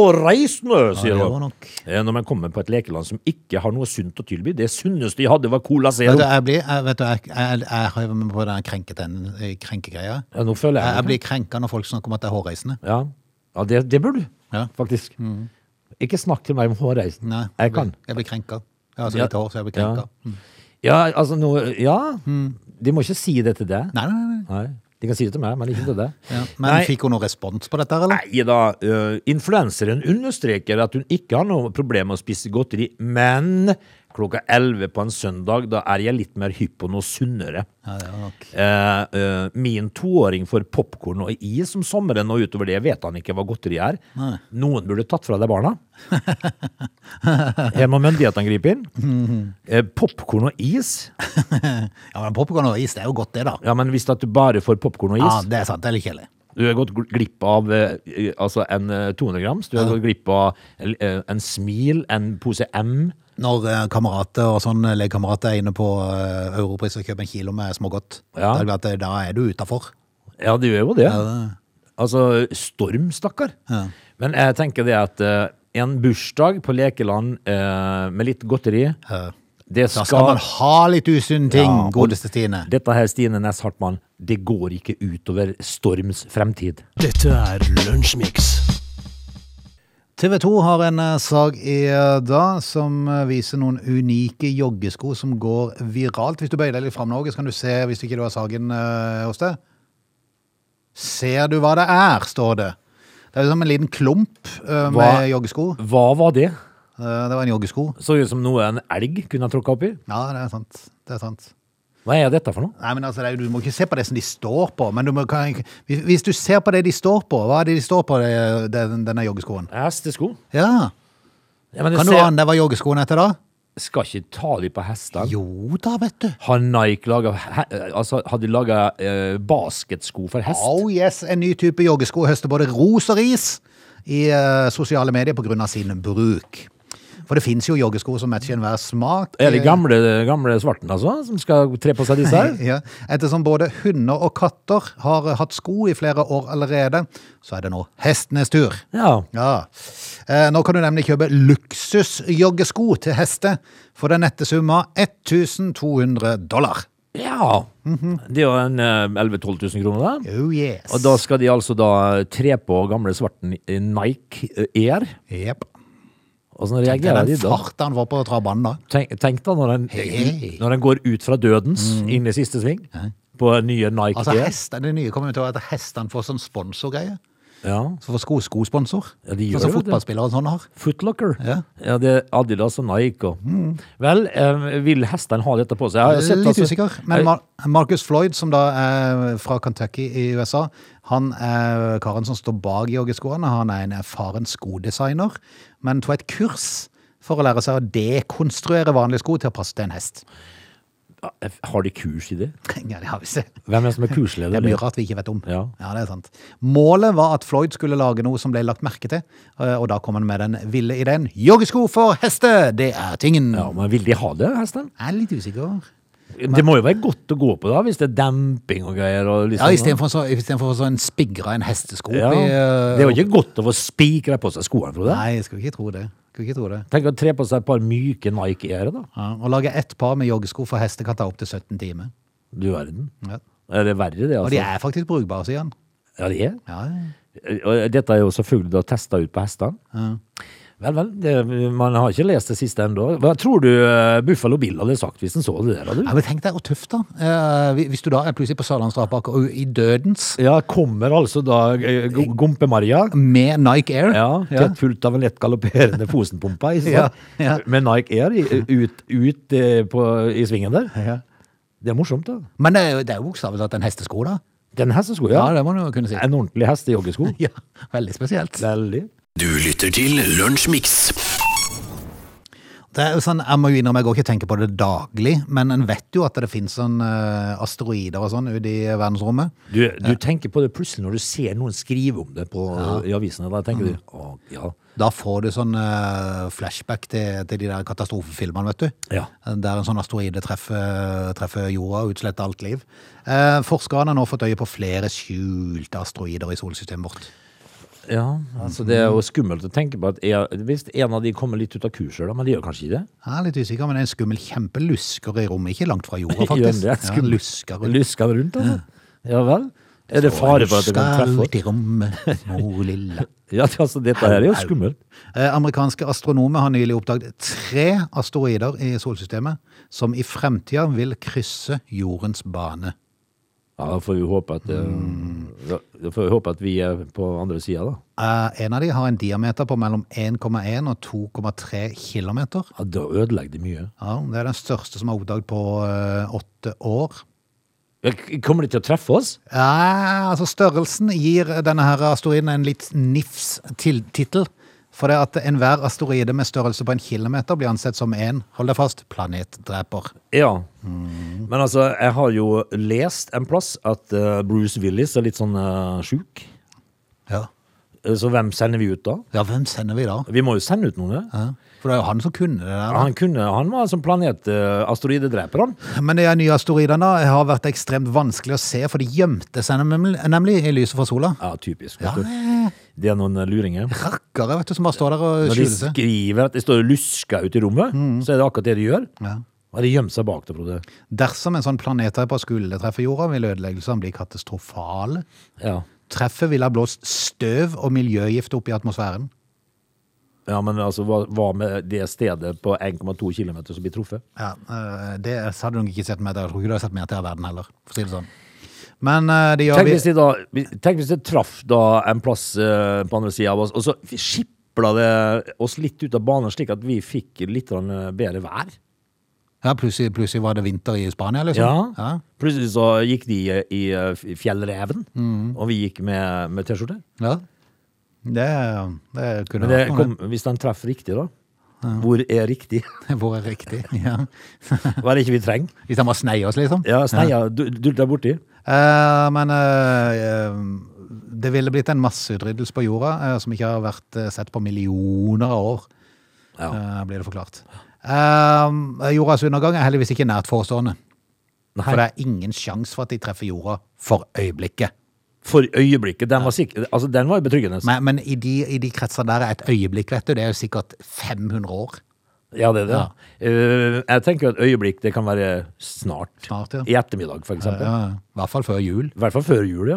[SPEAKER 3] hårreisende, sier
[SPEAKER 1] det var
[SPEAKER 3] hun.
[SPEAKER 1] nok.
[SPEAKER 3] Eh, Når man kommer på et lekeland som ikke har noe sunt å tilby. Det sunneste de hadde, var Cola Zero.
[SPEAKER 1] Vet du, jeg blir, jeg, vet du, jeg, jeg, jeg har jo med på den krenketen- krenkegreia.
[SPEAKER 3] Ja, nå føler
[SPEAKER 1] Jeg, jeg
[SPEAKER 3] jeg det.
[SPEAKER 1] blir krenka når folk snakker om at det er hårreisende.
[SPEAKER 3] Ja, ja det, det bør du,
[SPEAKER 1] Ja. Mm.
[SPEAKER 3] faktisk. Ikke snakk til meg om hårreisen.
[SPEAKER 1] Nei,
[SPEAKER 3] jeg kan.
[SPEAKER 1] blir- Jeg blir krenka. Jeg har så
[SPEAKER 3] Ja.
[SPEAKER 1] lite hår, så jeg blir krenka. Mm.
[SPEAKER 3] Ja, altså nå Ja. De må ikke si det til deg.
[SPEAKER 1] Nei, nei, nei.
[SPEAKER 3] Nei. De kan si det til meg, men ikke til deg.
[SPEAKER 1] Ja. Men
[SPEAKER 3] Nei.
[SPEAKER 1] fikk hun noe respons på dette, her, eller?
[SPEAKER 3] Nei da, eh, influenseren understreker at hun ikke har noe problem med å spise godteri, men klokka 11 på en søndag, da er jeg litt mer hypp på noe sunnere.
[SPEAKER 1] Ja, det var nok.
[SPEAKER 3] Eh, eh, min toåring får popkorn og is om sommeren, og utover det vet han ikke hva godteri er. Noen burde tatt fra deg barna. Her må myndighetene
[SPEAKER 1] [LAUGHS]
[SPEAKER 3] gripe inn.
[SPEAKER 1] Mhm.
[SPEAKER 3] Eh, popkorn og is?
[SPEAKER 1] [LAUGHS] Ja, men popcorn og is, det er jo godt det, da.
[SPEAKER 3] Ja, men hvis at du bare får popkorn og
[SPEAKER 1] Ja,
[SPEAKER 3] is
[SPEAKER 1] det er sant. Det er litt kjedelig.
[SPEAKER 3] Du har gått gl- glipp av eh, eh, altså en eh, 200 grams, du har gått glipp av eh, en smil, en pose M.
[SPEAKER 1] Når eh, kamerater og sånn legekamerater er inne på eh, Europris og kjøper en kilo med smågodt,
[SPEAKER 3] Ja.
[SPEAKER 1] da er det at, eh, da er du utafor.
[SPEAKER 3] Ja, det gjør jo det. Altså, storm, stakkar.
[SPEAKER 1] Ja.
[SPEAKER 3] Men jeg tenker det at eh, en bursdag på lekeland eh, med litt godteri, det
[SPEAKER 1] Da
[SPEAKER 3] skal,
[SPEAKER 1] skal man ha litt usunne ting,
[SPEAKER 3] Ja, og-
[SPEAKER 1] godeste Stine.
[SPEAKER 3] Dette her, Stine Næss Hartmann, det går ikke utover Storms fremtid.
[SPEAKER 2] Dette er Lunsjmix.
[SPEAKER 1] TV 2 har en eh, sak i eh, dag som eh, viser noen unike joggesko som går viralt. Hvis du bøyer deg litt fram, Norge, så kan du se, hvis ikke du har saken eh, hos deg. Ser du hva det er, står det. Det er som en liten klump eh, med
[SPEAKER 3] Hva-
[SPEAKER 1] joggesko.
[SPEAKER 3] Hva var det?
[SPEAKER 1] Eh, det var en joggesko.
[SPEAKER 3] Så ut som noe en elg kunne ha tråkka oppi.
[SPEAKER 1] Ja, det er sant. Det er sant.
[SPEAKER 3] Hva er dette for noe?
[SPEAKER 1] Nei, men altså, det er jo- Du må ikke se på det som de står på. Men du må, kan, hvis hvis du ser på det de står på, hva er det de står på, det, den, denne joggeskoen?
[SPEAKER 3] Hestesko.
[SPEAKER 1] Ja,
[SPEAKER 3] Ja, men
[SPEAKER 1] Kan du
[SPEAKER 3] ser-
[SPEAKER 1] ane hva joggeskoen heter, da?
[SPEAKER 3] Skal ikke ta de på hestene.
[SPEAKER 1] Jo da, vet du.
[SPEAKER 3] Har Nike laga Altså, har de laga eh, basketsko for hest?
[SPEAKER 1] Oh yes, en ny type joggesko høster både ros og ris i eh, sosiale medier pga. sin bruk. For det fins jo joggesko som matcher enhver smak.
[SPEAKER 3] Er det gamle, gamle svarten, altså, som skal tre på seg disse her?
[SPEAKER 1] Eh, Ja, Ettersom både hunder og katter har hatt sko i flere år allerede, så er det nå hestenes tur.
[SPEAKER 3] Ja.
[SPEAKER 1] Ja. Eh, Nå kan du nemlig kjøpe luksusjoggesko til hester for den nette summa 1200 dollar.
[SPEAKER 3] ja. Det er jo en eh, 11 000-12 000 kroner, da.
[SPEAKER 1] Oh Mhm. yes.
[SPEAKER 3] Og da skal de altså da tre på gamle svarten i Nike eh, Air.
[SPEAKER 1] Jep.
[SPEAKER 3] Og sånn reagerer de
[SPEAKER 1] Den
[SPEAKER 3] da.
[SPEAKER 1] farten han får på trabanen da.
[SPEAKER 3] Tenk, tenk da når en,
[SPEAKER 1] Hei.
[SPEAKER 3] når en går ut fra dødens inn i siste sving på nye Nike
[SPEAKER 1] Mm. Altså,
[SPEAKER 3] Air.
[SPEAKER 1] hestene, Det nye kommer jo til å være at hestene får sånn sponsorgreie.
[SPEAKER 3] Ja.
[SPEAKER 1] Så får sko skosponsor.
[SPEAKER 3] Ja, de
[SPEAKER 1] sånn
[SPEAKER 3] gjør
[SPEAKER 1] som
[SPEAKER 3] jo det.
[SPEAKER 1] fotballspillere og sånne har.
[SPEAKER 3] Footlocker.
[SPEAKER 1] Ja. Mm.
[SPEAKER 3] det er Adidas og Nike. Og. Vel, eh, vil hestene ha dette på seg? Jeg har jo sett,
[SPEAKER 1] Litt
[SPEAKER 3] altså-
[SPEAKER 1] usikker. Men Mar Marcus Floyd, som da er fra Kentucky i USA, han er karen som står bak joggeskoene. Han er en erfaren skodesigner, men tok et kurs for å lære seg å dekonstruere vanlige sko til å passe til en hest. [LAUGHS]
[SPEAKER 3] Eh, Har de kurs i det?
[SPEAKER 1] Ja, det har vi sett.
[SPEAKER 3] Hvem er det som er
[SPEAKER 1] Det
[SPEAKER 3] kursleder?
[SPEAKER 1] er mye rart vi ikke vet om.
[SPEAKER 3] Ja.
[SPEAKER 1] det er sant. Målet var at Floyd skulle lage noe som ble lagt merke til, eh, og da kom han med den ville ideen. Joggesko for hester, det er tingen!
[SPEAKER 3] Ja, men vil de ha det, hestene?
[SPEAKER 1] Jeg er litt usikker.
[SPEAKER 3] Det må jo være godt å gå på da, hvis det er demping og greier. Og
[SPEAKER 1] Ja,
[SPEAKER 3] liksom,
[SPEAKER 1] Istedenfor så, i stedet for så en spigra en hestesko
[SPEAKER 3] Ja.
[SPEAKER 1] oppi eh,
[SPEAKER 3] Det er jo ikke godt å få spikra på seg skoene, Frode.
[SPEAKER 1] Nei, jeg skulle ikke tro det. Skulle ikke tro det.
[SPEAKER 3] Tenk å tre på seg et par myke Nike-ærer, da.
[SPEAKER 1] Ja, å lage ett par med joggesko for hester kan ta opptil 17 timer.
[SPEAKER 3] Du verden.
[SPEAKER 1] Ja.
[SPEAKER 3] Er det verre, det,
[SPEAKER 1] Og de
[SPEAKER 3] altså?
[SPEAKER 1] er faktisk brukbare, sier han.
[SPEAKER 3] Ja, det er.
[SPEAKER 1] Ja,
[SPEAKER 3] Og dette er jo selvfølgelig da testa ut på hestene. Vel, vel. Det, man har ikke lest det siste ennå. Hva tror du eh, Buffalo Bill hadde sagt hvis han så det der?
[SPEAKER 1] ja
[SPEAKER 3] Hadde?
[SPEAKER 1] men tenk deg hvor tøft, da. Eh, hvi- hvis du da er plutselig på Sørlandsdrapaker og i dødens
[SPEAKER 3] Ja, kommer altså da eh, Go- Gompe-Maria.
[SPEAKER 1] med Nike Air
[SPEAKER 3] Ja,
[SPEAKER 1] ja.
[SPEAKER 3] tett fullt av en lett galopperende Fosenpumpa i,
[SPEAKER 1] Ja, ja.
[SPEAKER 3] med Nike Air i- ut, ut eh, på, i svingen der.
[SPEAKER 1] Ja.
[SPEAKER 3] Det er morsomt, da.
[SPEAKER 1] Men det er jo- det er jo bokstavelig talt en hestesko, da.
[SPEAKER 3] Den hestesko,
[SPEAKER 1] Ja,
[SPEAKER 3] ja.
[SPEAKER 1] det må du jo kunne si.
[SPEAKER 3] En ordentlig hest i [LAUGHS] joggesko.
[SPEAKER 1] [LAUGHS] Ja, Veldig spesielt.
[SPEAKER 3] Veldig.
[SPEAKER 2] Du lytter til Lunsjmix.
[SPEAKER 1] Det er jo sånn, Jeg må jo innrømme, jeg går ikke og tenker på det daglig, men en vet jo at det finnes sånn eh, asteroider og sånn ute i verdensrommet.
[SPEAKER 3] Du, du tenker på det plutselig når du ser noen skrive om det på, i avisene. Da tenker du å, ja.
[SPEAKER 1] Da får du sånn eh, flashback til, til de der katastrofefilmene, vet du.
[SPEAKER 3] Ja.
[SPEAKER 1] Der en sånn asteroide treffer, treffer jorda og utsletter alt liv. Eh, forskerne har nå fått øye på flere skjulte asteroider i solsystemet vårt.
[SPEAKER 3] ja. Altså, det er jo skummelt å tenke på at er, hvis en av de kommer litt ut av kurset, da, men de gjør kanskje ikke det.
[SPEAKER 1] Jeg er litt usikker, men det er en skummel kjempelusker i rommet. Ikke langt fra
[SPEAKER 3] [LAUGHS]
[SPEAKER 1] jorda,
[SPEAKER 3] Gjør
[SPEAKER 1] faktisk.
[SPEAKER 3] det?
[SPEAKER 1] Ja, lusker.
[SPEAKER 3] Lusker rundt, altså. Ja vel. Er det fare for at det kan treffe
[SPEAKER 1] Lusker ut i rommet, mor lilla.
[SPEAKER 3] Ja, altså, dette her er jo skummelt.
[SPEAKER 1] Eh, Amerikanske astronomer har nylig oppdaget tre asteroider i solsystemet som i fremtida vil krysse jordens bane.
[SPEAKER 3] Ja, da får vi håpe at eh, Da, da får vi håpe at vi er på andre sida, da.
[SPEAKER 1] Eh, en av de har en diameter på mellom 1,1 og 2,3 kilometer.
[SPEAKER 3] Ja, da ødelegger det mye.
[SPEAKER 1] Ja, det er den største som er oppdaget på eh, åtte år.
[SPEAKER 3] Ja, k- Kommer de til å treffe oss?
[SPEAKER 1] Ja, altså størrelsen gir denne her asteroiden en litt nifs til- tittel. For det at enhver asteroide med størrelse på en kilometer blir ansett som en, hold deg fast, planetdreper.
[SPEAKER 3] Ja. Men altså, jeg har jo lest en plass at eh, Bruce Willis er litt sånn uh, sjuk.
[SPEAKER 1] Ja.
[SPEAKER 3] Eh, Så hvem sender vi ut da?
[SPEAKER 1] ja, hvem sender vi da?
[SPEAKER 3] Vi må jo sende ut noen.
[SPEAKER 1] Ja. For det er jo han som kunne det der. da.
[SPEAKER 3] Han, kunne, han var som planet eh, asteroidedreper, han.
[SPEAKER 1] Men de nye asteroidene da, har vært ekstremt vanskelig å se, for de gjemte seg nemlig, nemlig i lyset fra sola.
[SPEAKER 3] Ja, typisk.
[SPEAKER 1] Ja,
[SPEAKER 3] Vet du. Det er noen eh, luringer.
[SPEAKER 1] rakkere vet du, som bare står der og
[SPEAKER 3] Når de
[SPEAKER 1] skjuler seg.
[SPEAKER 3] skriver at de står og lusker ute i rommet,
[SPEAKER 1] Mm.
[SPEAKER 3] så er det akkurat det de gjør.
[SPEAKER 1] Ja.
[SPEAKER 3] Og de gjemt seg bak det, Frode.
[SPEAKER 1] Dersom en sånn planetdreper skulle treffe jorda, vil ødeleggelsene bli katastrofale.
[SPEAKER 3] Ja.
[SPEAKER 1] Treffet ville ha blåst støv og miljøgift opp i atmosfæren.
[SPEAKER 3] ja, men altså, hva, hva med det stedet på 1,2 km som blir truffet?
[SPEAKER 1] Ja, eh, Det hadde du nok ikke sett mer til. Jeg tror ikke du har sett mer til av verden heller, for å si det sånn. Men eh, det gjør
[SPEAKER 3] Tenk
[SPEAKER 1] vi
[SPEAKER 3] hvis, de da, tenk hvis det traff da en plass eh, på andre sida av oss, og så skipla det oss litt ut av banen, slik at vi fikk litt grann, eh, bedre vær.
[SPEAKER 1] ja, plutselig, plutselig var det vinter i Spania,
[SPEAKER 3] Ja.
[SPEAKER 1] liksom. Ja.
[SPEAKER 3] Plutselig så gikk de eh, i eh, f- fjellreven,
[SPEAKER 1] Mm.
[SPEAKER 3] og vi gikk med, med T-skjorte.
[SPEAKER 1] ja. Det, sånn det kunne
[SPEAKER 3] Men det
[SPEAKER 1] vært
[SPEAKER 3] kom,
[SPEAKER 1] noe.
[SPEAKER 3] hvis den traff riktig, da. Hvor er riktig?
[SPEAKER 1] [LAUGHS] Hvor er riktig? Ja.
[SPEAKER 3] Hva er det ikke vi trenger?
[SPEAKER 1] Hvis han bare sneier oss, liksom.
[SPEAKER 3] Ja, Sneia du- dulta borti.
[SPEAKER 1] Eh, men eh, eh, det ville blitt en masseutryddelse på jorda eh, som ikke har vært eh, sett på millioner av år,
[SPEAKER 3] Ja.
[SPEAKER 1] eh, blir det forklart. Eh, jordas undergang er heldigvis ikke nært forestående.
[SPEAKER 3] Nei,
[SPEAKER 1] For det er ingen sjanse for at de treffer jorda for øyeblikket.
[SPEAKER 3] for øyeblikket. Den var, sikk- altså, den var jo betryggende.
[SPEAKER 1] Men, men i, de, i de kretser der er et øyeblikk, vet du, det er jo sikkert 500 år.
[SPEAKER 3] Ja, det er det.
[SPEAKER 1] Ja.
[SPEAKER 3] Eh, jeg tenker jo at øyeblikk det kan være snart.
[SPEAKER 1] Snart, ja.
[SPEAKER 3] I ettermiddag, for eksempel.
[SPEAKER 1] Ja, Mm. I hvert fall før jul.
[SPEAKER 3] I hvert fall før jul, ja.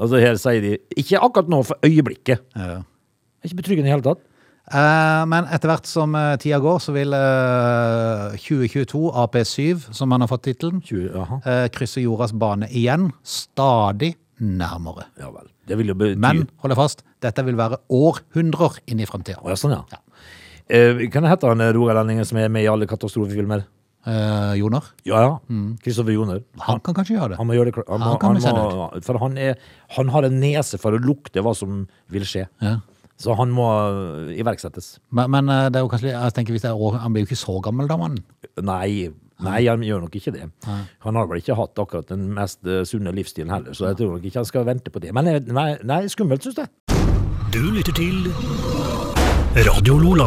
[SPEAKER 3] Altså Her sier de ikke akkurat nå, for øyeblikket.
[SPEAKER 1] Ja.
[SPEAKER 3] Det er ikke betryggende i hele tatt.
[SPEAKER 1] Eh, men etter hvert som eh, tida går, så vil eh, 2022 AP7, som han har fått tittelen,
[SPEAKER 3] 20, jaha.
[SPEAKER 1] eh, krysser jordas bane igjen, stadig nærmere.
[SPEAKER 3] Ja vel. Det vil jo bety
[SPEAKER 1] Men, hold deg fast, dette vil være århundrer inn i
[SPEAKER 3] Å,
[SPEAKER 1] fremtiden.
[SPEAKER 3] ja, sånn, ja. Eh, kan det hette han eh, rogalendingen som er med i alle katastrofefilmer?
[SPEAKER 1] Eh, Joner,
[SPEAKER 3] Ja, ja.
[SPEAKER 1] Mm.
[SPEAKER 3] Kristoffer Joner.
[SPEAKER 1] han kan kanskje gjøre det.
[SPEAKER 3] Han må gjøre det klart. Han,
[SPEAKER 1] Han
[SPEAKER 3] må-
[SPEAKER 1] kan vi
[SPEAKER 3] han,
[SPEAKER 1] sende
[SPEAKER 3] må, for han, er, han har en nese for å lukte hva som vil skje.
[SPEAKER 1] Ja.
[SPEAKER 3] Så han må eh, iverksettes.
[SPEAKER 1] Men, men eh, det er jo kanskje, jeg tenker hvis det er år, han blir jo ikke så gammel da, mannen.
[SPEAKER 3] Nei, nei, han gjør nok ikke det. Han har vel ikke hatt akkurat den mest eh, sunne livsstilen heller, så jeg tror nok ikke han skal vente på det. Men eh, nei, nei skummelt, syns jeg.
[SPEAKER 2] Du lytter til Radio Lola.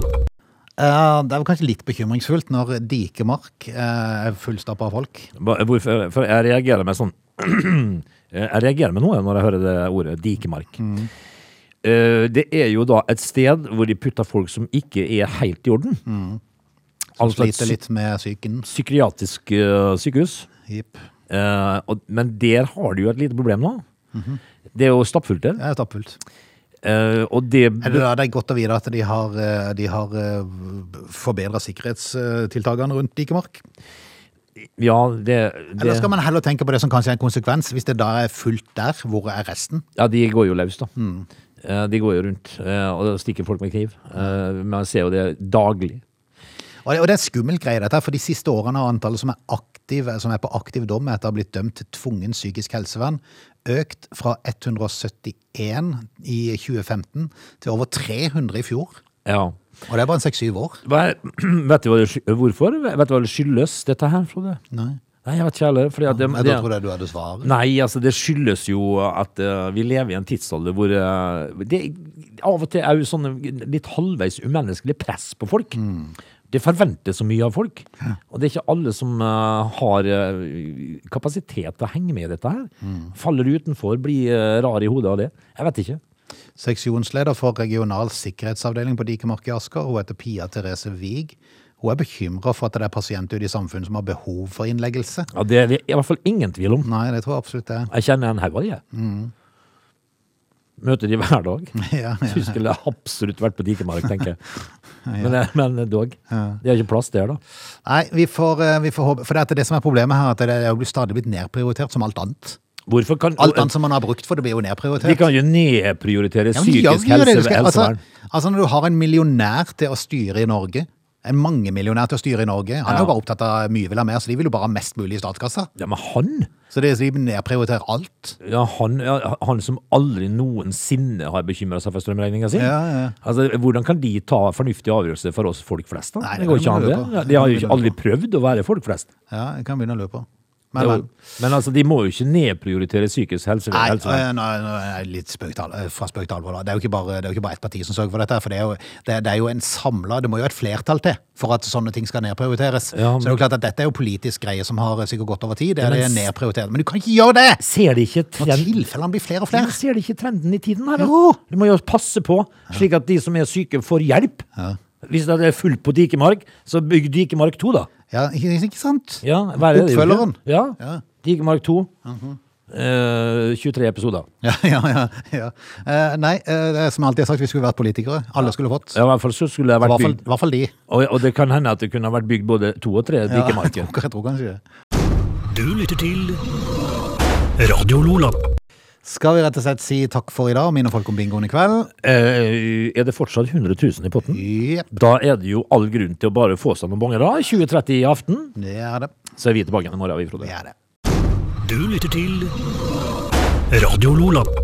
[SPEAKER 1] Eh, det er vel kanskje litt bekymringsfullt når Dikemark eh, er fullstappa av folk.
[SPEAKER 3] Hva- Hvorfor, for jeg reagerer med sånn [CLEARS THROAT] Jeg reagerer med noe når jeg hører det ordet dikemark.
[SPEAKER 1] Mm.
[SPEAKER 3] Eh, Det er jo da et sted hvor de putter folk som ikke er helt i orden. Altså
[SPEAKER 1] Mm.
[SPEAKER 3] et
[SPEAKER 1] Sliter
[SPEAKER 3] psy
[SPEAKER 1] litt med psyken.
[SPEAKER 3] psykiatrisk eh, sykehus.
[SPEAKER 1] Jipp.
[SPEAKER 3] Eh, og, men der har de jo et lite problem nå. Det er jo stappfullt der.
[SPEAKER 1] Det er stappfullt.
[SPEAKER 3] Eh, og det
[SPEAKER 1] Er det, da- det er godt å vite at de har, eh, de har forbedra sikkerhetstiltakene rundt Dikemark.
[SPEAKER 3] Ja, det,
[SPEAKER 1] Eller
[SPEAKER 3] det
[SPEAKER 1] skal man heller tenke på det som kanskje er en konsekvens, hvis det da er fullt der, hvor er resten?
[SPEAKER 3] Ja, de går jo løs, da.
[SPEAKER 1] Mm.
[SPEAKER 3] Eh, De går jo rundt eh, og stikker folk med kniv. Eh, Man ser jo det daglig.
[SPEAKER 1] Og det, og det er en skummel greie, dette, her, for de siste årene har antallet som er, aktiv, som er på aktiv dom etter å ha blitt dømt til tvungen psykisk helsevern, økt fra 171 i 2015 til over 300 i fjor.
[SPEAKER 3] Ja.
[SPEAKER 1] Og det er bare en seks-syv år.
[SPEAKER 3] Hva er, [CLEARS THROAT] vet du hva det, sky- hvorfor? Vet du hva det skyldes, dette her, Frode?
[SPEAKER 1] Nei.
[SPEAKER 3] Nei, jeg vet ikke heller. Fordi at det,
[SPEAKER 1] Jeg
[SPEAKER 3] det,
[SPEAKER 1] da trodde jeg du hadde svaret.
[SPEAKER 3] nei, altså, det skyldes jo at eh, vi lever i en tidsalder hvor eh, det av og til er jo sånn litt halvveis umenneskelig press på folk. Det forventes så mye av folk, og det er ikke alle som eh, har eh, kapasitet til å henge med i dette her. Faller utenfor, blir eh, rar i hodet av det. Jeg vet ikke.
[SPEAKER 1] Seksjonsleder for regional sikkerhetsavdeling på Dikemark i Asker, hun heter Pia Therese Wiig. Hun er bekymra for at det er pasienter ute i samfunnet som har behov for innleggelse.
[SPEAKER 3] Ja, det er det i hvert fall ingen tvil om.
[SPEAKER 1] Nei, det tror jeg absolutt det er.
[SPEAKER 3] Jeg kjenner en haug av de, jeg. Møter de hver dag.
[SPEAKER 1] [LAUGHS] Ja, ja.
[SPEAKER 3] Du skulle absolutt vært på Dikemark,
[SPEAKER 1] [LAUGHS]
[SPEAKER 3] tenker jeg. Men, eh, men dog. Det er ikke plass der, da.
[SPEAKER 1] Nei, vi får, eh, vi får håpe For det, er det som er problemet her, at det er jo blitt stadig blitt nedprioritert som alt annet.
[SPEAKER 3] Hvorfor kan
[SPEAKER 1] Alt annet som man har brukt for, det blir jo nedprioritert.
[SPEAKER 3] Vi kan jo nedprioritere
[SPEAKER 1] Ja, men de gjør
[SPEAKER 3] psykisk
[SPEAKER 1] jo det.
[SPEAKER 3] helse
[SPEAKER 1] Du
[SPEAKER 3] ved
[SPEAKER 1] skal-
[SPEAKER 3] helsevern.
[SPEAKER 1] Altså, altså når du har en millionær til å styre i Norge, en mangemillionær til å styre i Norge, han er jo
[SPEAKER 3] Ja.
[SPEAKER 1] bare opptatt av mye vil ha mer, så de vil jo bare ha mest mulig i statskassa.
[SPEAKER 3] Ja, men han
[SPEAKER 1] Så det, så de nedprioriterer alt.
[SPEAKER 3] ja, han, ja, han som aldri noensinne har bekymra seg for strømregninga si.
[SPEAKER 1] Ja, ja, ja.
[SPEAKER 3] Altså, hvordan kan de ta fornuftige avgjørelser for oss folk flest? da?
[SPEAKER 1] Nei,
[SPEAKER 3] det går
[SPEAKER 1] det kan
[SPEAKER 3] ikke an,
[SPEAKER 1] vi
[SPEAKER 3] det.
[SPEAKER 1] lure på.
[SPEAKER 3] Ja, De har jo
[SPEAKER 1] Det kan
[SPEAKER 3] ikke
[SPEAKER 1] vi
[SPEAKER 3] aldri prøvd å være folk flest.
[SPEAKER 1] Ja, jeg kan begynne å lure på. Men,
[SPEAKER 3] Jo,
[SPEAKER 1] men.
[SPEAKER 3] men altså, de må jo ikke nedprioritere psykisk helse.
[SPEAKER 1] Nei, øh,
[SPEAKER 3] helsevern.
[SPEAKER 1] nå, nå er jeg litt spøkt al- øh, fra spøkt alvor. da. Det er jo ikke bare, det er jo ikke bare ett parti som sørger for dette. her, for Det er jo, det, det er jo en samla Det må jo et flertall til for at sånne ting skal nedprioriteres.
[SPEAKER 3] Ja,
[SPEAKER 1] Så
[SPEAKER 3] men-
[SPEAKER 1] det er jo klart at dette er jo politisk greie som har øh, sikkert gått over tid. Det
[SPEAKER 3] Ja,
[SPEAKER 1] er
[SPEAKER 3] men
[SPEAKER 1] det
[SPEAKER 3] s-
[SPEAKER 1] nedprioritert. Men du kan ikke gjøre det!
[SPEAKER 3] Ser de ikke
[SPEAKER 1] Når
[SPEAKER 3] trenden?
[SPEAKER 1] tilfellene blir flere og
[SPEAKER 3] Ja,
[SPEAKER 1] flere.
[SPEAKER 3] men Ser de ikke trenden i tiden her? da?
[SPEAKER 1] Jo.
[SPEAKER 3] Du må jo passe på, slik at de som er syke, får hjelp. Hvis det er fullt på Dikemark, så bygg Dikemark 2, da.
[SPEAKER 1] Ja, ikke, ikke sant?
[SPEAKER 3] Ja, hva er det? det er jo ikke-
[SPEAKER 1] Oppfølgeren.
[SPEAKER 3] Ja.
[SPEAKER 1] Ja. Mhm.
[SPEAKER 3] Dikemark 2. eh, 23 episoder.
[SPEAKER 1] Ja, [LAUGHS] ja, ja. ja. Eh, nei, eh, det er som jeg alltid har sagt, vi skulle vært politikere. Alle skulle fått.
[SPEAKER 3] Ja, I hvert fall så skulle det
[SPEAKER 1] I
[SPEAKER 3] vært
[SPEAKER 1] hvert fall,
[SPEAKER 3] bygd.
[SPEAKER 1] i hvert fall de.
[SPEAKER 3] Og, og det kan hende at det kunne ha vært bygd både to og tre
[SPEAKER 1] [LAUGHS]
[SPEAKER 3] Dikemarker.
[SPEAKER 1] jeg tror- jeg tror kanskje det.
[SPEAKER 2] Du lytter til Radio Lola.
[SPEAKER 1] Skal vi rett og slett si takk for i dag, mine folk om bingoen i kveld?
[SPEAKER 3] Eh, er det fortsatt 100 000 i potten?
[SPEAKER 1] Jepp,
[SPEAKER 3] Da er det jo all grunn til å bare få seg noen bonger. da. 20.30 i aften,
[SPEAKER 1] det er det.
[SPEAKER 3] så er vi tilbake igjen i morgen. vi, Frode.
[SPEAKER 1] Det er det.
[SPEAKER 2] Du lytter til Radio Lola.